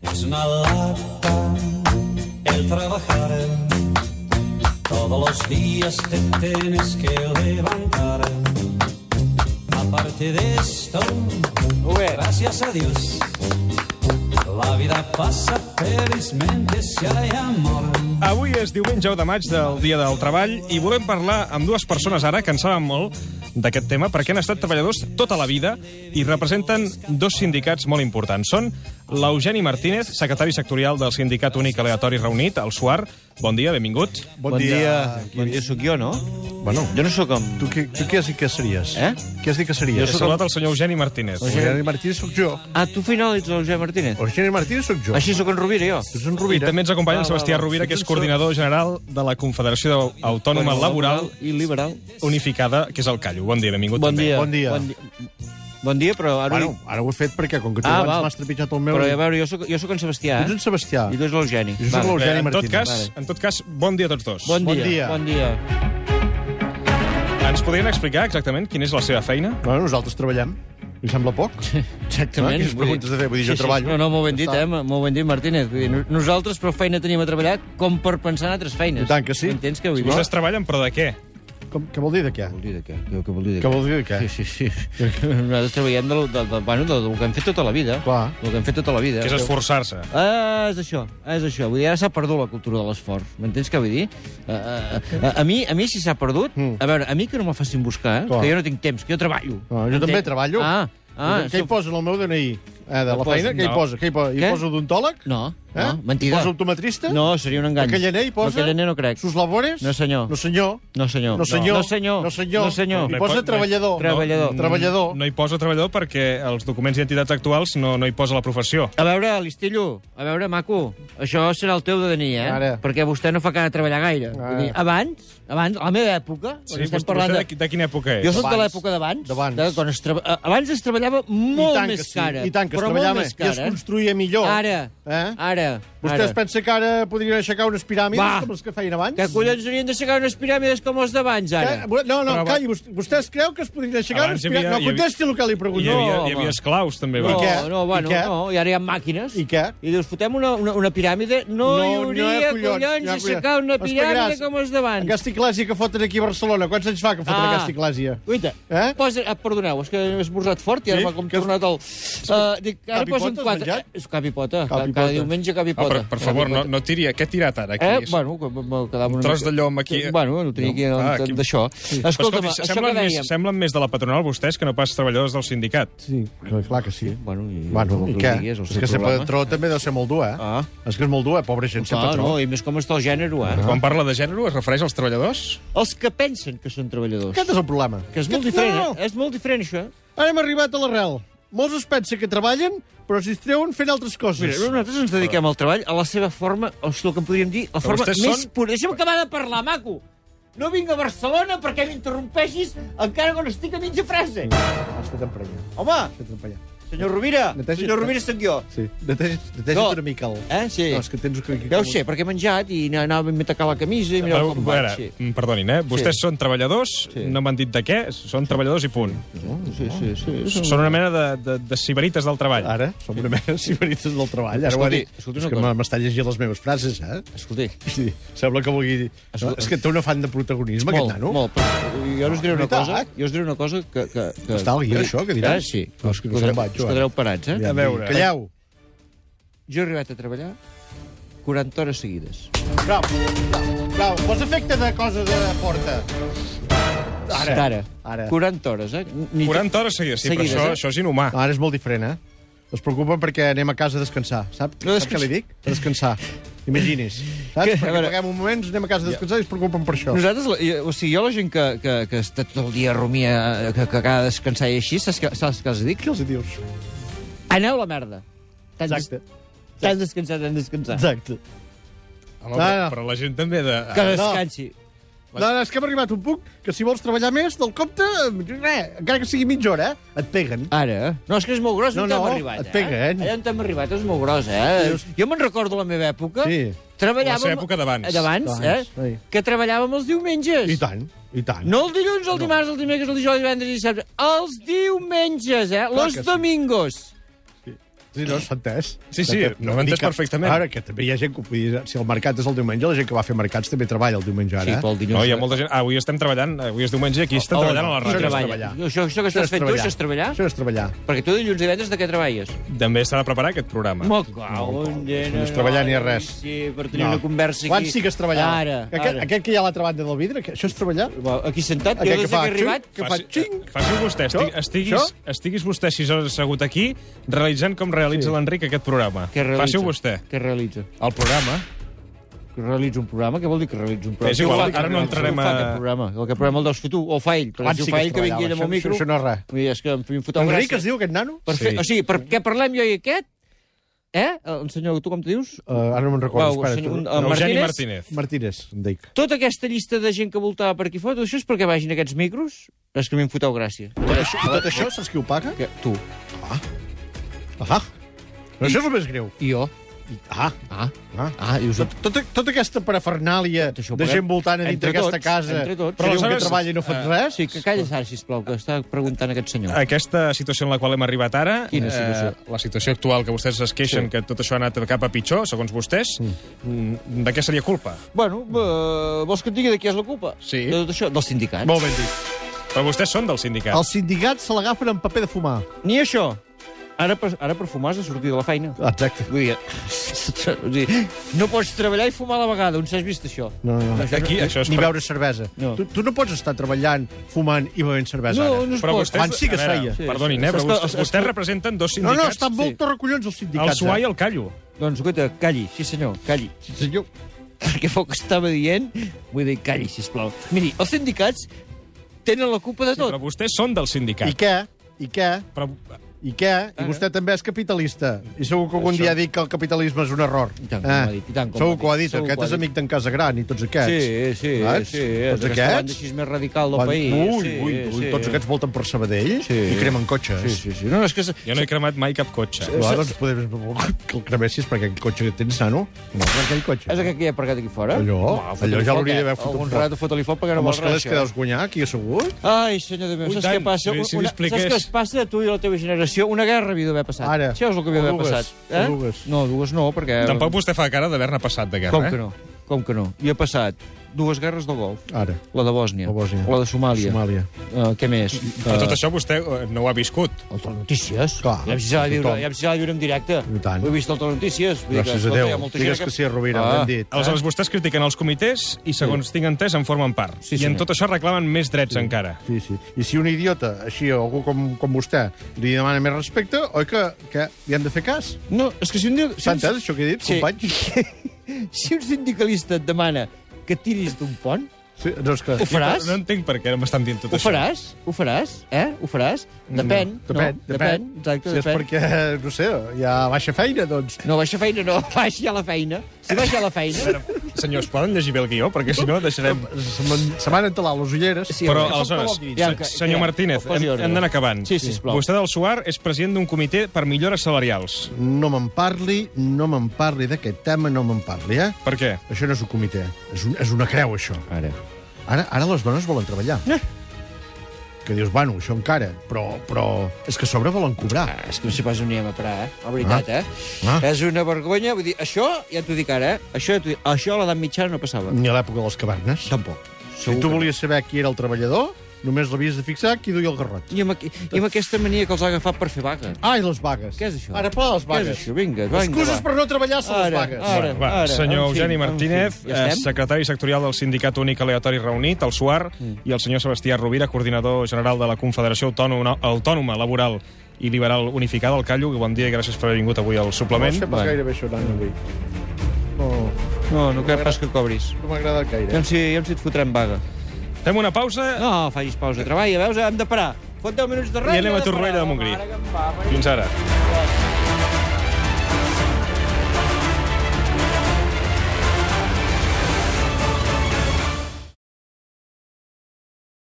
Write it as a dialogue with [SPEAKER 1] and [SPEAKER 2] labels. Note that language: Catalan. [SPEAKER 1] Es una lata el trabajar. Todos los días te tienes que levantar. Aparte de esto, gracias a Dios. La vida pasa felizmente si hay amor.
[SPEAKER 2] Avui és diumenge 1 de maig del Dia del Treball i volem parlar amb dues persones ara que en saben molt d'aquest tema perquè han estat treballadors tota la vida i representen dos sindicats molt importants. Són l'Eugeni Martínez, secretari sectorial del Sindicat Únic Aleatori Reunit, el SUAR. Bon dia, benvingut.
[SPEAKER 3] Bon, bon dia. dia. Bon dia, sóc jo, no?
[SPEAKER 4] Bueno,
[SPEAKER 3] Jo no sóc amb...
[SPEAKER 4] tu, què, tu què has dit que series?
[SPEAKER 3] Eh?
[SPEAKER 4] Què has dit que
[SPEAKER 2] He
[SPEAKER 4] series?
[SPEAKER 3] sóc-
[SPEAKER 2] saludat el senyor Eugeni Martínez.
[SPEAKER 4] Eugeni Martínez sóc jo.
[SPEAKER 3] Ah, tu finalitzes l'Eugeni Martínez?
[SPEAKER 4] Eugeni Martínez sóc jo.
[SPEAKER 3] Així sóc en Rovira, jo.
[SPEAKER 4] Tu ets un eh?
[SPEAKER 2] I
[SPEAKER 4] Rovira.
[SPEAKER 2] també ens acompanya
[SPEAKER 3] Va,
[SPEAKER 2] el Sebastià
[SPEAKER 3] va, va.
[SPEAKER 2] Rovira, que és coordinador general de la Confederació Autònoma Laboral
[SPEAKER 3] I liberal.
[SPEAKER 2] Unificada, que és el Callo. Bon dia, benvingut
[SPEAKER 3] Bon
[SPEAKER 2] també.
[SPEAKER 3] dia.
[SPEAKER 4] Bon dia.
[SPEAKER 3] Bon dia, bon dia però ara...
[SPEAKER 4] Bueno,
[SPEAKER 3] dic-
[SPEAKER 4] ara ho he fet perquè com que tu
[SPEAKER 3] Ah, val.
[SPEAKER 4] abans m'has trepitjat el meu...
[SPEAKER 3] Però a veure, jo sóc, jo sóc en Sebastià,
[SPEAKER 4] Tu ets
[SPEAKER 3] eh?
[SPEAKER 4] en Sebastià.
[SPEAKER 3] I tu ets l'Eugeni.
[SPEAKER 4] Jo sóc
[SPEAKER 3] Vale.
[SPEAKER 2] Bé,
[SPEAKER 4] l'Eugeni.
[SPEAKER 2] Eh, en tot
[SPEAKER 4] Martínez,
[SPEAKER 2] cas,
[SPEAKER 3] vale.
[SPEAKER 2] en tot cas, bon dia a tots dos.
[SPEAKER 3] Bon,
[SPEAKER 4] Bon
[SPEAKER 3] dia,
[SPEAKER 4] dia.
[SPEAKER 3] bon dia.
[SPEAKER 2] Ens podrien explicar exactament quina és la seva feina?
[SPEAKER 4] Bueno, nosaltres treballem. Li sembla poc? No,
[SPEAKER 3] Exactament.
[SPEAKER 4] quines
[SPEAKER 3] vull dir-
[SPEAKER 4] preguntes de fer? Vull dir, jo treballo.
[SPEAKER 3] No, no, m'ho ben dit,
[SPEAKER 4] Ja
[SPEAKER 3] eh?
[SPEAKER 4] està.
[SPEAKER 3] M'ho ben dit, Martínez. Vull dir, no- nosaltres prou feina tenim a treballar com per pensar en altres feines.
[SPEAKER 4] I tant que sí.
[SPEAKER 3] Entens què vull dir?
[SPEAKER 2] Vostès treballen, però de què?
[SPEAKER 3] eh?
[SPEAKER 4] Com, què vol dir de què?
[SPEAKER 3] Vol dir de què? Què, què vol dir de
[SPEAKER 4] Què vol dir de què?
[SPEAKER 3] Sí, sí, sí. Nosaltres treballem del, del, del, bueno, del, del que hem fet tota la vida.
[SPEAKER 4] Clar.
[SPEAKER 3] Del que hem fet tota la vida.
[SPEAKER 2] Que és esforçar-se.
[SPEAKER 3] Ah, és això, és això. Vull dir, ara s'ha perdut la cultura de l'esforç. M'entens què vull dir? Ah, ah, ah, a, mi, a mi si s'ha perdut...
[SPEAKER 4] Mm.
[SPEAKER 3] A veure, a mi que no me facin buscar, eh?
[SPEAKER 4] Clar.
[SPEAKER 3] que jo no tinc temps, que jo treballo.
[SPEAKER 4] No, jo també treballo.
[SPEAKER 3] Ah, ah,
[SPEAKER 4] què hi
[SPEAKER 3] sóc-
[SPEAKER 4] posa en el meu DNI? Eh, de
[SPEAKER 3] No
[SPEAKER 4] la feina?
[SPEAKER 3] posa-
[SPEAKER 4] Què hi
[SPEAKER 2] no.
[SPEAKER 4] posa? Què hi posa? Hi
[SPEAKER 3] Què?
[SPEAKER 4] posa odontòleg?
[SPEAKER 3] No,
[SPEAKER 4] Eh?
[SPEAKER 3] no,
[SPEAKER 4] Hi
[SPEAKER 3] mentida.
[SPEAKER 4] posa optometrista?
[SPEAKER 3] No, seria un engany.
[SPEAKER 4] Callaner hi posa?
[SPEAKER 3] No, Callaner no crec.
[SPEAKER 4] Sus labores?
[SPEAKER 3] No, senyor.
[SPEAKER 4] No, senyor.
[SPEAKER 3] No, senyor.
[SPEAKER 4] No, senyor.
[SPEAKER 3] No, senyor.
[SPEAKER 4] No, senyor.
[SPEAKER 3] No, senyor.
[SPEAKER 4] Hi
[SPEAKER 2] No,
[SPEAKER 4] posa
[SPEAKER 2] no,
[SPEAKER 4] treballador.
[SPEAKER 3] Treballador.
[SPEAKER 4] Treballador.
[SPEAKER 2] No hi posa treballador perquè els documents d'identitats actuals no, no hi posa la professió.
[SPEAKER 3] A veure, Listillo, a veure, maco, això serà el teu de DNI, eh?
[SPEAKER 4] Ara. Ah.
[SPEAKER 3] Perquè vostè no fa cara de treballar gaire.
[SPEAKER 4] Ara.
[SPEAKER 3] Vull dir, abans, abans, a la meva època, quan estem
[SPEAKER 2] vostè,
[SPEAKER 3] parlant
[SPEAKER 2] vostè
[SPEAKER 3] de...
[SPEAKER 2] de... qui- de quina època és?
[SPEAKER 3] Jo soc de
[SPEAKER 4] D'abans.
[SPEAKER 3] l'època d'abans.
[SPEAKER 4] D'abans.
[SPEAKER 3] de quan es treba... eh, Abans es treballava molt
[SPEAKER 4] I tant
[SPEAKER 3] més
[SPEAKER 4] que sí,
[SPEAKER 3] cara.
[SPEAKER 4] I tant, que
[SPEAKER 3] però
[SPEAKER 4] es
[SPEAKER 3] molt
[SPEAKER 4] treballava
[SPEAKER 3] més cara.
[SPEAKER 4] i es construïa millor.
[SPEAKER 3] Ara,
[SPEAKER 4] Eh?
[SPEAKER 3] ara,
[SPEAKER 4] Vostè es
[SPEAKER 3] ara.
[SPEAKER 4] pensa que ara podrien aixecar unes piràmides
[SPEAKER 3] Va.
[SPEAKER 4] com les que feien abans?
[SPEAKER 3] Que collons haurien d'aixecar unes piràmides com els d'abans,
[SPEAKER 4] Eh?
[SPEAKER 3] ara?
[SPEAKER 4] No, no,
[SPEAKER 2] Però
[SPEAKER 4] Però,
[SPEAKER 2] abans-
[SPEAKER 4] calli, vostè, vostè es creu que es podrien aixecar
[SPEAKER 2] Abans
[SPEAKER 4] unes
[SPEAKER 2] hi havia- hi
[SPEAKER 4] piràmides? No,
[SPEAKER 2] havia-
[SPEAKER 4] contesti el que li
[SPEAKER 2] Hi havia,
[SPEAKER 4] pregunto.
[SPEAKER 2] hi
[SPEAKER 3] home.
[SPEAKER 2] havia esclaus, també.
[SPEAKER 4] No.
[SPEAKER 2] va. Ah,
[SPEAKER 3] No,
[SPEAKER 4] I què?
[SPEAKER 3] no, bueno,
[SPEAKER 4] I què?
[SPEAKER 3] no, i ara hi ha màquines.
[SPEAKER 4] I què?
[SPEAKER 3] I dius, fotem una, una, una piràmide?
[SPEAKER 4] No,
[SPEAKER 3] No,
[SPEAKER 4] no hi
[SPEAKER 3] hi
[SPEAKER 4] ha
[SPEAKER 3] hauria
[SPEAKER 4] collons,
[SPEAKER 3] collons
[SPEAKER 4] no hi ha
[SPEAKER 3] d'aixecar
[SPEAKER 4] collons.
[SPEAKER 3] una
[SPEAKER 4] Els
[SPEAKER 3] piràmide
[SPEAKER 4] pegaràs.
[SPEAKER 3] com els d'abans.
[SPEAKER 4] Aquesta eclàsia que foten aquí a Barcelona, quants anys fa que foten
[SPEAKER 3] Ah.
[SPEAKER 4] aquesta eclàsia?
[SPEAKER 3] Guaita,
[SPEAKER 4] Eh?
[SPEAKER 3] eh? posa... Ah, perdoneu, és que he esmorzat fort i ara
[SPEAKER 4] Sí?
[SPEAKER 3] m'ha com
[SPEAKER 4] Que has-
[SPEAKER 3] tornat el... Uh, dic, ara
[SPEAKER 4] Cap i
[SPEAKER 3] posa un
[SPEAKER 4] pota has
[SPEAKER 3] quatre...
[SPEAKER 4] menjat?
[SPEAKER 3] Eh, És cap i pota.
[SPEAKER 4] Cap i
[SPEAKER 3] Ca- Cada
[SPEAKER 4] pota.
[SPEAKER 3] diumenge cap i
[SPEAKER 2] Oh,
[SPEAKER 3] pota.
[SPEAKER 2] però, per favor, no, no tiri. Què ha tirat ara?
[SPEAKER 3] Eh,
[SPEAKER 2] Aquí?
[SPEAKER 3] bueno, que me- me quedava
[SPEAKER 2] Un
[SPEAKER 3] una
[SPEAKER 2] tros
[SPEAKER 3] mica-
[SPEAKER 2] de llom aquí. eh?
[SPEAKER 3] Bueno, no tenia aquí
[SPEAKER 2] No, clar,
[SPEAKER 3] no,
[SPEAKER 2] aquí-
[SPEAKER 3] d'això.
[SPEAKER 2] Però,
[SPEAKER 3] Escolta'm,
[SPEAKER 2] escolti,
[SPEAKER 3] això que
[SPEAKER 2] semblen, més,
[SPEAKER 3] dèiem...
[SPEAKER 2] semblen més de la patronal vostès que no pas treballadors del sindicat.
[SPEAKER 4] Sí, clar, clar que sí.
[SPEAKER 3] Bueno, i,
[SPEAKER 4] Bueno,
[SPEAKER 3] el
[SPEAKER 4] i
[SPEAKER 3] que
[SPEAKER 4] què?
[SPEAKER 3] Digues, el
[SPEAKER 4] És
[SPEAKER 3] seu
[SPEAKER 4] que ser
[SPEAKER 3] problema.
[SPEAKER 4] patró també deu ser molt dur, eh?
[SPEAKER 3] Ah.
[SPEAKER 4] És que és molt dur, eh? Pobre gent, ser
[SPEAKER 3] Clar,
[SPEAKER 4] patró.
[SPEAKER 3] no, i més com està el gènere, eh?
[SPEAKER 2] Quan parla de gènere es refereix als treballadors?
[SPEAKER 3] Els que pensen que són treballadors.
[SPEAKER 4] Aquest és el problema.
[SPEAKER 3] Que és molt
[SPEAKER 4] Aquest-
[SPEAKER 3] diferent,
[SPEAKER 4] No,
[SPEAKER 3] eh? És molt diferent, això.
[SPEAKER 4] Ara hem arribat a l'arrel. Molts es pensa que treballen, però s'hi treuen fent altres coses.
[SPEAKER 3] Mira, nosaltres ens dediquem al treball a la seva forma, o és el que en podríem dir, la forma
[SPEAKER 2] vostès
[SPEAKER 3] més
[SPEAKER 2] són-
[SPEAKER 3] pura. Deixa'm acabar de parlar, maco. No vinc a Barcelona perquè m'interrompeixis encara quan estic a mitja frase.
[SPEAKER 4] Has fet emprenyar,
[SPEAKER 3] Home,
[SPEAKER 4] has fet emprenyar.
[SPEAKER 3] senyor Rovira,
[SPEAKER 4] Neteja-
[SPEAKER 3] senyor Rovira sóc jo.
[SPEAKER 4] Sí, neteja't neteja
[SPEAKER 3] No.
[SPEAKER 4] una mica el...
[SPEAKER 3] Eh, sí.
[SPEAKER 4] No, és que tens... que-
[SPEAKER 3] Deu ser, perquè he menjat i anava a tacar la camisa i mirava com
[SPEAKER 2] veure,
[SPEAKER 3] vaig. Sí.
[SPEAKER 2] mm, perdonin, eh? Vostès
[SPEAKER 3] Sí.
[SPEAKER 2] són treballadors,
[SPEAKER 3] Sí.
[SPEAKER 2] no m'han dit de què, són treballadors i punt.
[SPEAKER 3] No, sí, sí, sí.
[SPEAKER 2] Són una mena de, de, de sibarites del treball.
[SPEAKER 3] Ah,
[SPEAKER 4] Ara, som una mena de ciberites del treball. Ara ho ha
[SPEAKER 3] Escolti,
[SPEAKER 4] dit.
[SPEAKER 3] escolti
[SPEAKER 4] És
[SPEAKER 3] una
[SPEAKER 4] que
[SPEAKER 3] cosa.
[SPEAKER 4] m'està llegint les meves frases, eh?
[SPEAKER 3] Escolti,
[SPEAKER 4] Sí, sembla que vulgui dir... No,
[SPEAKER 3] Escolti.
[SPEAKER 4] és que té un afany de protagonisme,
[SPEAKER 3] molt,
[SPEAKER 4] aquest nano.
[SPEAKER 3] molt. Però jo us diré una
[SPEAKER 4] Veritat?
[SPEAKER 3] cosa, jo us diré una cosa que... que, que
[SPEAKER 4] Està al guió, això, que dirà?
[SPEAKER 3] Eh, sí.
[SPEAKER 4] No, és que no
[SPEAKER 3] Us quedareu-
[SPEAKER 4] se'n vaig,
[SPEAKER 3] us
[SPEAKER 4] Joan.
[SPEAKER 3] quedareu parats, eh?
[SPEAKER 4] Ja,
[SPEAKER 2] A veure.
[SPEAKER 4] Calleu.
[SPEAKER 3] Jo he arribat a treballar 40 hores seguides.
[SPEAKER 4] Bravo, bravo, bravo. Posa efecte de cosa de porta. Ara.
[SPEAKER 3] Ara.
[SPEAKER 4] Ara.
[SPEAKER 3] 40 hores, eh? Ni
[SPEAKER 2] 40 hores seguides, sí,
[SPEAKER 3] Seguides,
[SPEAKER 2] però això,
[SPEAKER 3] eh?
[SPEAKER 2] això és inhumà.
[SPEAKER 4] No, ara és molt diferent, eh? Es preocupen perquè anem a casa a descansar, sap?
[SPEAKER 3] No
[SPEAKER 4] sap què
[SPEAKER 3] descans-
[SPEAKER 4] li dic? A descansar. Imagini's. Saps?
[SPEAKER 3] Que- a
[SPEAKER 4] Perquè
[SPEAKER 3] veure-
[SPEAKER 4] paguem un moment, anem a casa a descansar i es preocupen per això.
[SPEAKER 3] Nosaltres, la- jo- o sigui, jo la gent que, que, que està tot el dia rumia, eh, que, que acaba de descansar i així, saps, que, saps què els dic?
[SPEAKER 4] Què els hi dius?
[SPEAKER 3] Aneu a la merda. Tant des-
[SPEAKER 4] Exacte.
[SPEAKER 3] Tant descansar, tant descansar.
[SPEAKER 4] Exacte.
[SPEAKER 2] Home,
[SPEAKER 4] No,
[SPEAKER 2] però,
[SPEAKER 4] no.
[SPEAKER 2] però la gent també de... Ah,
[SPEAKER 3] Que
[SPEAKER 4] No.
[SPEAKER 3] descansi.
[SPEAKER 4] No, no, és que hem arribat a un punt que si vols treballar més, del compte, res, encara que sigui mitja hora, eh, et peguen.
[SPEAKER 3] Ara. No, és que és molt gros
[SPEAKER 4] No,
[SPEAKER 3] on t'hem
[SPEAKER 4] no,
[SPEAKER 3] arribat,
[SPEAKER 4] et peguen.
[SPEAKER 3] Eh? Allà on t'hem arribat és molt gros, eh?
[SPEAKER 4] Dius-
[SPEAKER 3] Jo me'n recordo la meva època.
[SPEAKER 4] Sí.
[SPEAKER 3] Treballàvem...
[SPEAKER 2] La seva època d'abans.
[SPEAKER 3] D'abans, eh?
[SPEAKER 4] D'abans, sí.
[SPEAKER 3] Que treballàvem els diumenges.
[SPEAKER 4] I tant, i tant.
[SPEAKER 3] No el dilluns, el dimarts, el dimecres, el dijous, el divendres i dissabte. Els diumenges, eh?
[SPEAKER 4] Clar
[SPEAKER 3] Los
[SPEAKER 4] que sí.
[SPEAKER 3] domingos.
[SPEAKER 4] Sí, no, s'ha entès?
[SPEAKER 2] Sí, sí,
[SPEAKER 4] Perquè-
[SPEAKER 2] no, m'ha entès
[SPEAKER 4] dic que-
[SPEAKER 2] perfectament.
[SPEAKER 4] Ara, que també hi ha gent que ho podia... Si el mercat és el diumenge, la gent que va fer mercats també treballa el diumenge ara. eh?
[SPEAKER 3] Sí, però el dilluns...
[SPEAKER 2] No, hi ha molta gent... Ah, avui estem treballant, avui és diumenge, aquí estem
[SPEAKER 3] Oh,
[SPEAKER 2] treballant a la
[SPEAKER 4] no,
[SPEAKER 3] Qui
[SPEAKER 4] no
[SPEAKER 2] ràdio.
[SPEAKER 4] treballa.
[SPEAKER 3] treballa? Això, això que estàs fent tu, això és treballar?
[SPEAKER 4] Això és treballar.
[SPEAKER 3] Perquè tu dilluns i divendres de què treballes?
[SPEAKER 2] També s'ha de preparar aquest programa.
[SPEAKER 3] Me cago en
[SPEAKER 4] No
[SPEAKER 3] llena.
[SPEAKER 4] és treballar ni res.
[SPEAKER 3] Sí, per tenir no. una conversa aquí.
[SPEAKER 4] Quan sí que és treballar?
[SPEAKER 3] Ara,
[SPEAKER 4] Aquest,
[SPEAKER 3] ara.
[SPEAKER 4] aquest que hi ha a l'altra banda del vidre, que, això és treballar?
[SPEAKER 3] Bueno, Aquí sentat, jo
[SPEAKER 4] Aquest
[SPEAKER 3] des que he arribat...
[SPEAKER 4] xing, que fa
[SPEAKER 2] Faci- eh,
[SPEAKER 4] xing.
[SPEAKER 2] Faci-ho vostè. Estig,
[SPEAKER 4] Això?
[SPEAKER 2] estiguis,
[SPEAKER 4] Això?
[SPEAKER 2] estiguis vostè 6 hores assegut aquí realitzant com realitza
[SPEAKER 4] Sí.
[SPEAKER 2] l'Enric aquest programa.
[SPEAKER 3] Què realitza?
[SPEAKER 2] Faci-ho vostè.
[SPEAKER 3] Què realitza?
[SPEAKER 2] El programa.
[SPEAKER 3] Que realitza un programa? Què vol dir que realitza un programa?
[SPEAKER 2] És igual,
[SPEAKER 3] Què ho fa,
[SPEAKER 2] ara no
[SPEAKER 3] aquest
[SPEAKER 2] entrarem
[SPEAKER 3] programa?
[SPEAKER 2] a-
[SPEAKER 3] Què ho Fa, aquest programa? El que programa el deus fer tu, o ho fa ell. Perquè
[SPEAKER 4] Abans
[SPEAKER 3] si
[SPEAKER 4] Eh, sí
[SPEAKER 3] ho fa
[SPEAKER 4] que
[SPEAKER 3] ell,
[SPEAKER 4] es
[SPEAKER 3] que
[SPEAKER 4] treballava,
[SPEAKER 3] vingui ell amb el
[SPEAKER 4] això-
[SPEAKER 3] micro...
[SPEAKER 4] això no és res.
[SPEAKER 3] Mira, és que em fem fotar
[SPEAKER 4] Enric es diu, aquest nano?
[SPEAKER 3] Per fer,
[SPEAKER 2] Sí.
[SPEAKER 3] O sigui, per què parlem jo i aquest? Eh? El senyor, tu com te dius?
[SPEAKER 4] Uh, ara no me'n recordo,
[SPEAKER 3] Pau,
[SPEAKER 4] espera.
[SPEAKER 3] senyor-
[SPEAKER 4] tu-
[SPEAKER 3] un- eh,
[SPEAKER 4] no,
[SPEAKER 3] Martí-
[SPEAKER 2] Eugeni
[SPEAKER 3] Martínez?
[SPEAKER 2] Martínez.
[SPEAKER 4] Martínez, em dic.
[SPEAKER 3] Tota aquesta llista de gent que voltava per aquí fora, tot això és perquè vagin aquests micros? És que m'hi foteu gràcia.
[SPEAKER 4] Tot això, tot això saps qui ho paga?
[SPEAKER 3] Que, tu.
[SPEAKER 4] Ah, però això és el més greu.
[SPEAKER 3] I jo.
[SPEAKER 4] Ah,
[SPEAKER 3] Ah,
[SPEAKER 4] ah.
[SPEAKER 3] ah, dius...
[SPEAKER 4] Tot, tota, tota aquesta parafernàlia
[SPEAKER 3] Tot això ho
[SPEAKER 4] de
[SPEAKER 3] paguem
[SPEAKER 4] gent voltant a dintre
[SPEAKER 3] entre
[SPEAKER 4] d'aquesta
[SPEAKER 3] tots,
[SPEAKER 4] casa
[SPEAKER 3] entre tots.
[SPEAKER 4] que
[SPEAKER 2] Però
[SPEAKER 4] diu que
[SPEAKER 2] aleshores-
[SPEAKER 4] treballa i no fot
[SPEAKER 2] eh,
[SPEAKER 4] res...
[SPEAKER 3] Sí, que calles ara, sisplau, que està preguntant aquest senyor.
[SPEAKER 2] Aquesta situació en la qual hem arribat ara...
[SPEAKER 3] Quina situació?
[SPEAKER 2] Eh, la situació actual, que vostès es queixen sí. que tot això ha anat cap a pitjor, segons vostès, mm. de què seria culpa?
[SPEAKER 3] Bueno, eh, vols que et digui de qui és la culpa?
[SPEAKER 2] Sí.
[SPEAKER 3] De tot això? Dels sindicats.
[SPEAKER 4] Molt ben dit.
[SPEAKER 2] Però vostès són del sindicat.
[SPEAKER 4] Els sindicats se l'agafen amb paper de fumar.
[SPEAKER 3] Ni això. Ara per, ara per fumar has de sortir de la feina.
[SPEAKER 4] Exacte.
[SPEAKER 3] Vull dir, o sigui, no pots treballar i fumar a la vegada. On s'has vist, això?
[SPEAKER 4] No, no, no.
[SPEAKER 2] Aquí, això és
[SPEAKER 4] Ni
[SPEAKER 2] per-
[SPEAKER 4] beure cervesa.
[SPEAKER 3] No.
[SPEAKER 4] Tu, tu no pots estar treballant, fumant i bevent cervesa
[SPEAKER 3] no,
[SPEAKER 4] ara.
[SPEAKER 3] no es
[SPEAKER 2] Però
[SPEAKER 3] pot.
[SPEAKER 2] vostès...
[SPEAKER 4] Abans sí que es
[SPEAKER 2] a veure,
[SPEAKER 4] feia.
[SPEAKER 3] Sí,
[SPEAKER 2] Perdonin,
[SPEAKER 3] sí.
[SPEAKER 2] eh, però
[SPEAKER 3] Escolta,
[SPEAKER 2] vostès,
[SPEAKER 3] escolta.
[SPEAKER 2] vostès representen dos
[SPEAKER 4] No,
[SPEAKER 2] sindicats.
[SPEAKER 4] no, estan
[SPEAKER 3] Sí.
[SPEAKER 4] molt torracollons els
[SPEAKER 2] El
[SPEAKER 4] sindicats.
[SPEAKER 2] Suai i
[SPEAKER 4] eh?
[SPEAKER 2] el Callo.
[SPEAKER 3] Doncs, escolta, calli, sí senyor, calli.
[SPEAKER 4] Sí, senyor.
[SPEAKER 3] Perquè fou que estava dient... Vull dir, calli, sisplau. Miri, els sindicats tenen la culpa de
[SPEAKER 2] Sí, però
[SPEAKER 3] tot.
[SPEAKER 2] vostès són del
[SPEAKER 4] I
[SPEAKER 2] sindicat.
[SPEAKER 4] què? I què?
[SPEAKER 2] Però
[SPEAKER 4] I què? I vostè també és capitalista. I segur que algun dia ha dit que el capitalisme és un error. Ah.
[SPEAKER 3] I tant com ho ha dit, i tant com ho
[SPEAKER 4] segur
[SPEAKER 3] ha
[SPEAKER 4] que ho ha
[SPEAKER 3] dit,
[SPEAKER 4] dit.
[SPEAKER 3] segur que ho
[SPEAKER 4] Aquest
[SPEAKER 3] ha
[SPEAKER 4] és
[SPEAKER 3] dit.
[SPEAKER 4] amic d'en Casagran i tots aquests.
[SPEAKER 3] Sí, sí,
[SPEAKER 4] Saps? Tots
[SPEAKER 3] sí. És que està
[SPEAKER 4] aquests.
[SPEAKER 3] l'andaixisme radical del
[SPEAKER 4] Quan-
[SPEAKER 3] país.
[SPEAKER 4] Ui,
[SPEAKER 3] sí,
[SPEAKER 4] ui, ui,
[SPEAKER 3] sí.
[SPEAKER 4] tots aquests volten per Sabadell
[SPEAKER 3] Sí.
[SPEAKER 4] i cremen cotxes.
[SPEAKER 3] Sí, sí, sí. No, no, és que...
[SPEAKER 2] jo no he cremat mai cap cotxe.
[SPEAKER 4] Però ara doncs podem que el cremessis perquè aquell cotxe que tens, nano. No, per aquell cotxe.
[SPEAKER 3] És aquest que hi ha aparcat aquí fora?
[SPEAKER 4] Allò,
[SPEAKER 3] Home, fot-li
[SPEAKER 4] allò ja
[SPEAKER 3] foc,
[SPEAKER 4] l'hauria
[SPEAKER 3] eh?
[SPEAKER 4] d'haver fotut
[SPEAKER 3] Algun
[SPEAKER 4] foc.
[SPEAKER 3] rato fot-li foc perquè no
[SPEAKER 4] Amb els
[SPEAKER 3] vol res. eh?
[SPEAKER 4] calés que
[SPEAKER 3] això.
[SPEAKER 4] deus guanyar, qui ha segut?
[SPEAKER 3] Ai, senyor de meu,
[SPEAKER 2] Ui,
[SPEAKER 3] saps
[SPEAKER 2] tant.
[SPEAKER 3] què passa?
[SPEAKER 2] Si- si
[SPEAKER 3] Una-
[SPEAKER 2] l'expliqués.
[SPEAKER 3] Saps què es passa de tu i la teva generació? Una guerra havia d'haver passat.
[SPEAKER 4] Ara.
[SPEAKER 3] Això és el que havia
[SPEAKER 4] O
[SPEAKER 3] d'haver
[SPEAKER 4] dues,
[SPEAKER 3] passat. eh?
[SPEAKER 4] o dues.
[SPEAKER 3] No, dues no, perquè...
[SPEAKER 2] Tampoc vostè fa cara d'haver-ne passat de guerra,
[SPEAKER 3] Com
[SPEAKER 2] eh?
[SPEAKER 3] que no? Com que no? Hi ha passat dues guerres del Golf.
[SPEAKER 4] Ara.
[SPEAKER 3] La de Bòsnia.
[SPEAKER 4] La Bòsnia.
[SPEAKER 3] La de Somàlia.
[SPEAKER 4] Somàlia.
[SPEAKER 3] Uh, què més?
[SPEAKER 2] Però tot això vostè eh, no ho ha viscut.
[SPEAKER 3] Notícies.
[SPEAKER 4] Clar,
[SPEAKER 3] ja si s'ha de viure,
[SPEAKER 4] tothom.
[SPEAKER 3] ja si s'ha de viure en directe.
[SPEAKER 4] I tant.
[SPEAKER 3] Ho he vist al Telenotícies. Vull dir
[SPEAKER 4] Gràcies
[SPEAKER 3] que,
[SPEAKER 4] a
[SPEAKER 3] escolta, hi
[SPEAKER 4] Déu.
[SPEAKER 3] ha molta gent
[SPEAKER 4] Digues que sí, Rovira,
[SPEAKER 3] Ah.
[SPEAKER 4] ben dit. eh?
[SPEAKER 2] Aleshores, vostès critiquen els comitès i, segons tinc entès, en formen part.
[SPEAKER 3] Sí,
[SPEAKER 2] I en
[SPEAKER 3] senyor.
[SPEAKER 2] tot això reclamen més drets encara.
[SPEAKER 4] Sí, sí. I si un idiota, així, o algú com, com vostè, li demana més respecte, oi que, que li han de fer cas?
[SPEAKER 3] No, és que si un dia... Si
[SPEAKER 4] S'ha
[SPEAKER 3] un,
[SPEAKER 4] entès, això que he dit,
[SPEAKER 3] Sí.
[SPEAKER 4] companys?
[SPEAKER 3] si un sindicalista et demana que tiris d'un pont,
[SPEAKER 4] Sí, no, és que...
[SPEAKER 3] ho faràs?
[SPEAKER 2] No entenc per què m'estan dient tot
[SPEAKER 3] Ho
[SPEAKER 2] això.
[SPEAKER 3] faràs? Ho faràs? Eh? Ho faràs? Depèn. No,
[SPEAKER 4] Depèn,
[SPEAKER 3] no, depèn. Exacte,
[SPEAKER 4] si és
[SPEAKER 3] depèn.
[SPEAKER 4] perquè, no sé, hi ha baixa feina, doncs.
[SPEAKER 3] No, baixa feina, no. Baixa ja la feina. Si baixa la feina...
[SPEAKER 2] Senyors, poden llegir bé el guió? Perquè si no deixarem...
[SPEAKER 4] Se m'han- se m'han entelat les ulleres.
[SPEAKER 3] Sí,
[SPEAKER 2] Però,
[SPEAKER 3] home.
[SPEAKER 2] aleshores,
[SPEAKER 3] vol dir? Ja,
[SPEAKER 2] se-
[SPEAKER 3] que-
[SPEAKER 2] senyor
[SPEAKER 3] que-
[SPEAKER 2] Martínez,
[SPEAKER 3] que posi
[SPEAKER 2] hem,
[SPEAKER 3] ordre.
[SPEAKER 2] hem d'anar acabant.
[SPEAKER 3] Sí, sisplau.
[SPEAKER 2] Vostè del Suar és president d'un comitè per millores salarials.
[SPEAKER 4] No me'n parli, no me'n parli d'aquest tema, no me'n parli, eh?
[SPEAKER 2] Per què?
[SPEAKER 4] Això no és un comitè, és, un, és una creu, això.
[SPEAKER 3] Ara.
[SPEAKER 4] Ara, ara les dones volen treballar.
[SPEAKER 3] Eh.
[SPEAKER 4] Que dius, bueno, això encara, però, però és que a sobre volen cobrar.
[SPEAKER 3] Ah, és que no sé pas on anirem a parar, eh? La veritat, eh?
[SPEAKER 4] Ah.
[SPEAKER 3] És una vergonya. Vull dir, això, ja t'ho dic ara, eh? Això, ja t'ho dic, això a l'edat mitjana no passava.
[SPEAKER 4] Ni a l'època de les cavernes.
[SPEAKER 3] Tampoc.
[SPEAKER 4] Si tu volies saber qui era el treballador, només l'havies de fixar qui duia el garrot.
[SPEAKER 3] I amb, aqu- i amb aquesta mania que els ha agafat per fer vaga.
[SPEAKER 4] Ai, les vagues.
[SPEAKER 3] Què és això?
[SPEAKER 4] Ara, parla de les
[SPEAKER 3] Què és
[SPEAKER 4] Ah, vagues.
[SPEAKER 3] això? Vinga, vinga,
[SPEAKER 4] Excuses
[SPEAKER 3] va.
[SPEAKER 4] per no treballar són les
[SPEAKER 3] Ara,
[SPEAKER 4] vagues.
[SPEAKER 3] ara.
[SPEAKER 2] Bueno, va, senyor
[SPEAKER 3] en fi,
[SPEAKER 2] Eugeni
[SPEAKER 3] en fi,
[SPEAKER 2] Martínez,
[SPEAKER 3] ja estem?
[SPEAKER 2] eh, secretari sectorial del Sindicat Únic Aleatori Reunit, el SUAR,
[SPEAKER 3] Mm.
[SPEAKER 2] i el senyor Sebastià Rovira, coordinador general de la Confederació Autònoma, Autònoma Laboral i Liberal Unificada, el Callo. Bon dia i gràcies per haver vingut avui al
[SPEAKER 4] No
[SPEAKER 2] suplement.
[SPEAKER 4] sé pas gaire bé això, Nano, avui. No,
[SPEAKER 3] Oh. No, no crec pas que cobris.
[SPEAKER 4] no m'ha agradat
[SPEAKER 3] Ja
[SPEAKER 4] gaire.
[SPEAKER 3] em si, ja em si et fotrem vaga.
[SPEAKER 2] Fem una pausa
[SPEAKER 3] No, facis pausa, treballa, veus? Hem de parar. Fot 10 minuts de ràdio.
[SPEAKER 2] anem
[SPEAKER 3] hem
[SPEAKER 2] a
[SPEAKER 3] de parar.
[SPEAKER 2] Torroella de Montgrí.
[SPEAKER 3] Home, ara que em va, perquè-
[SPEAKER 2] Fins ara.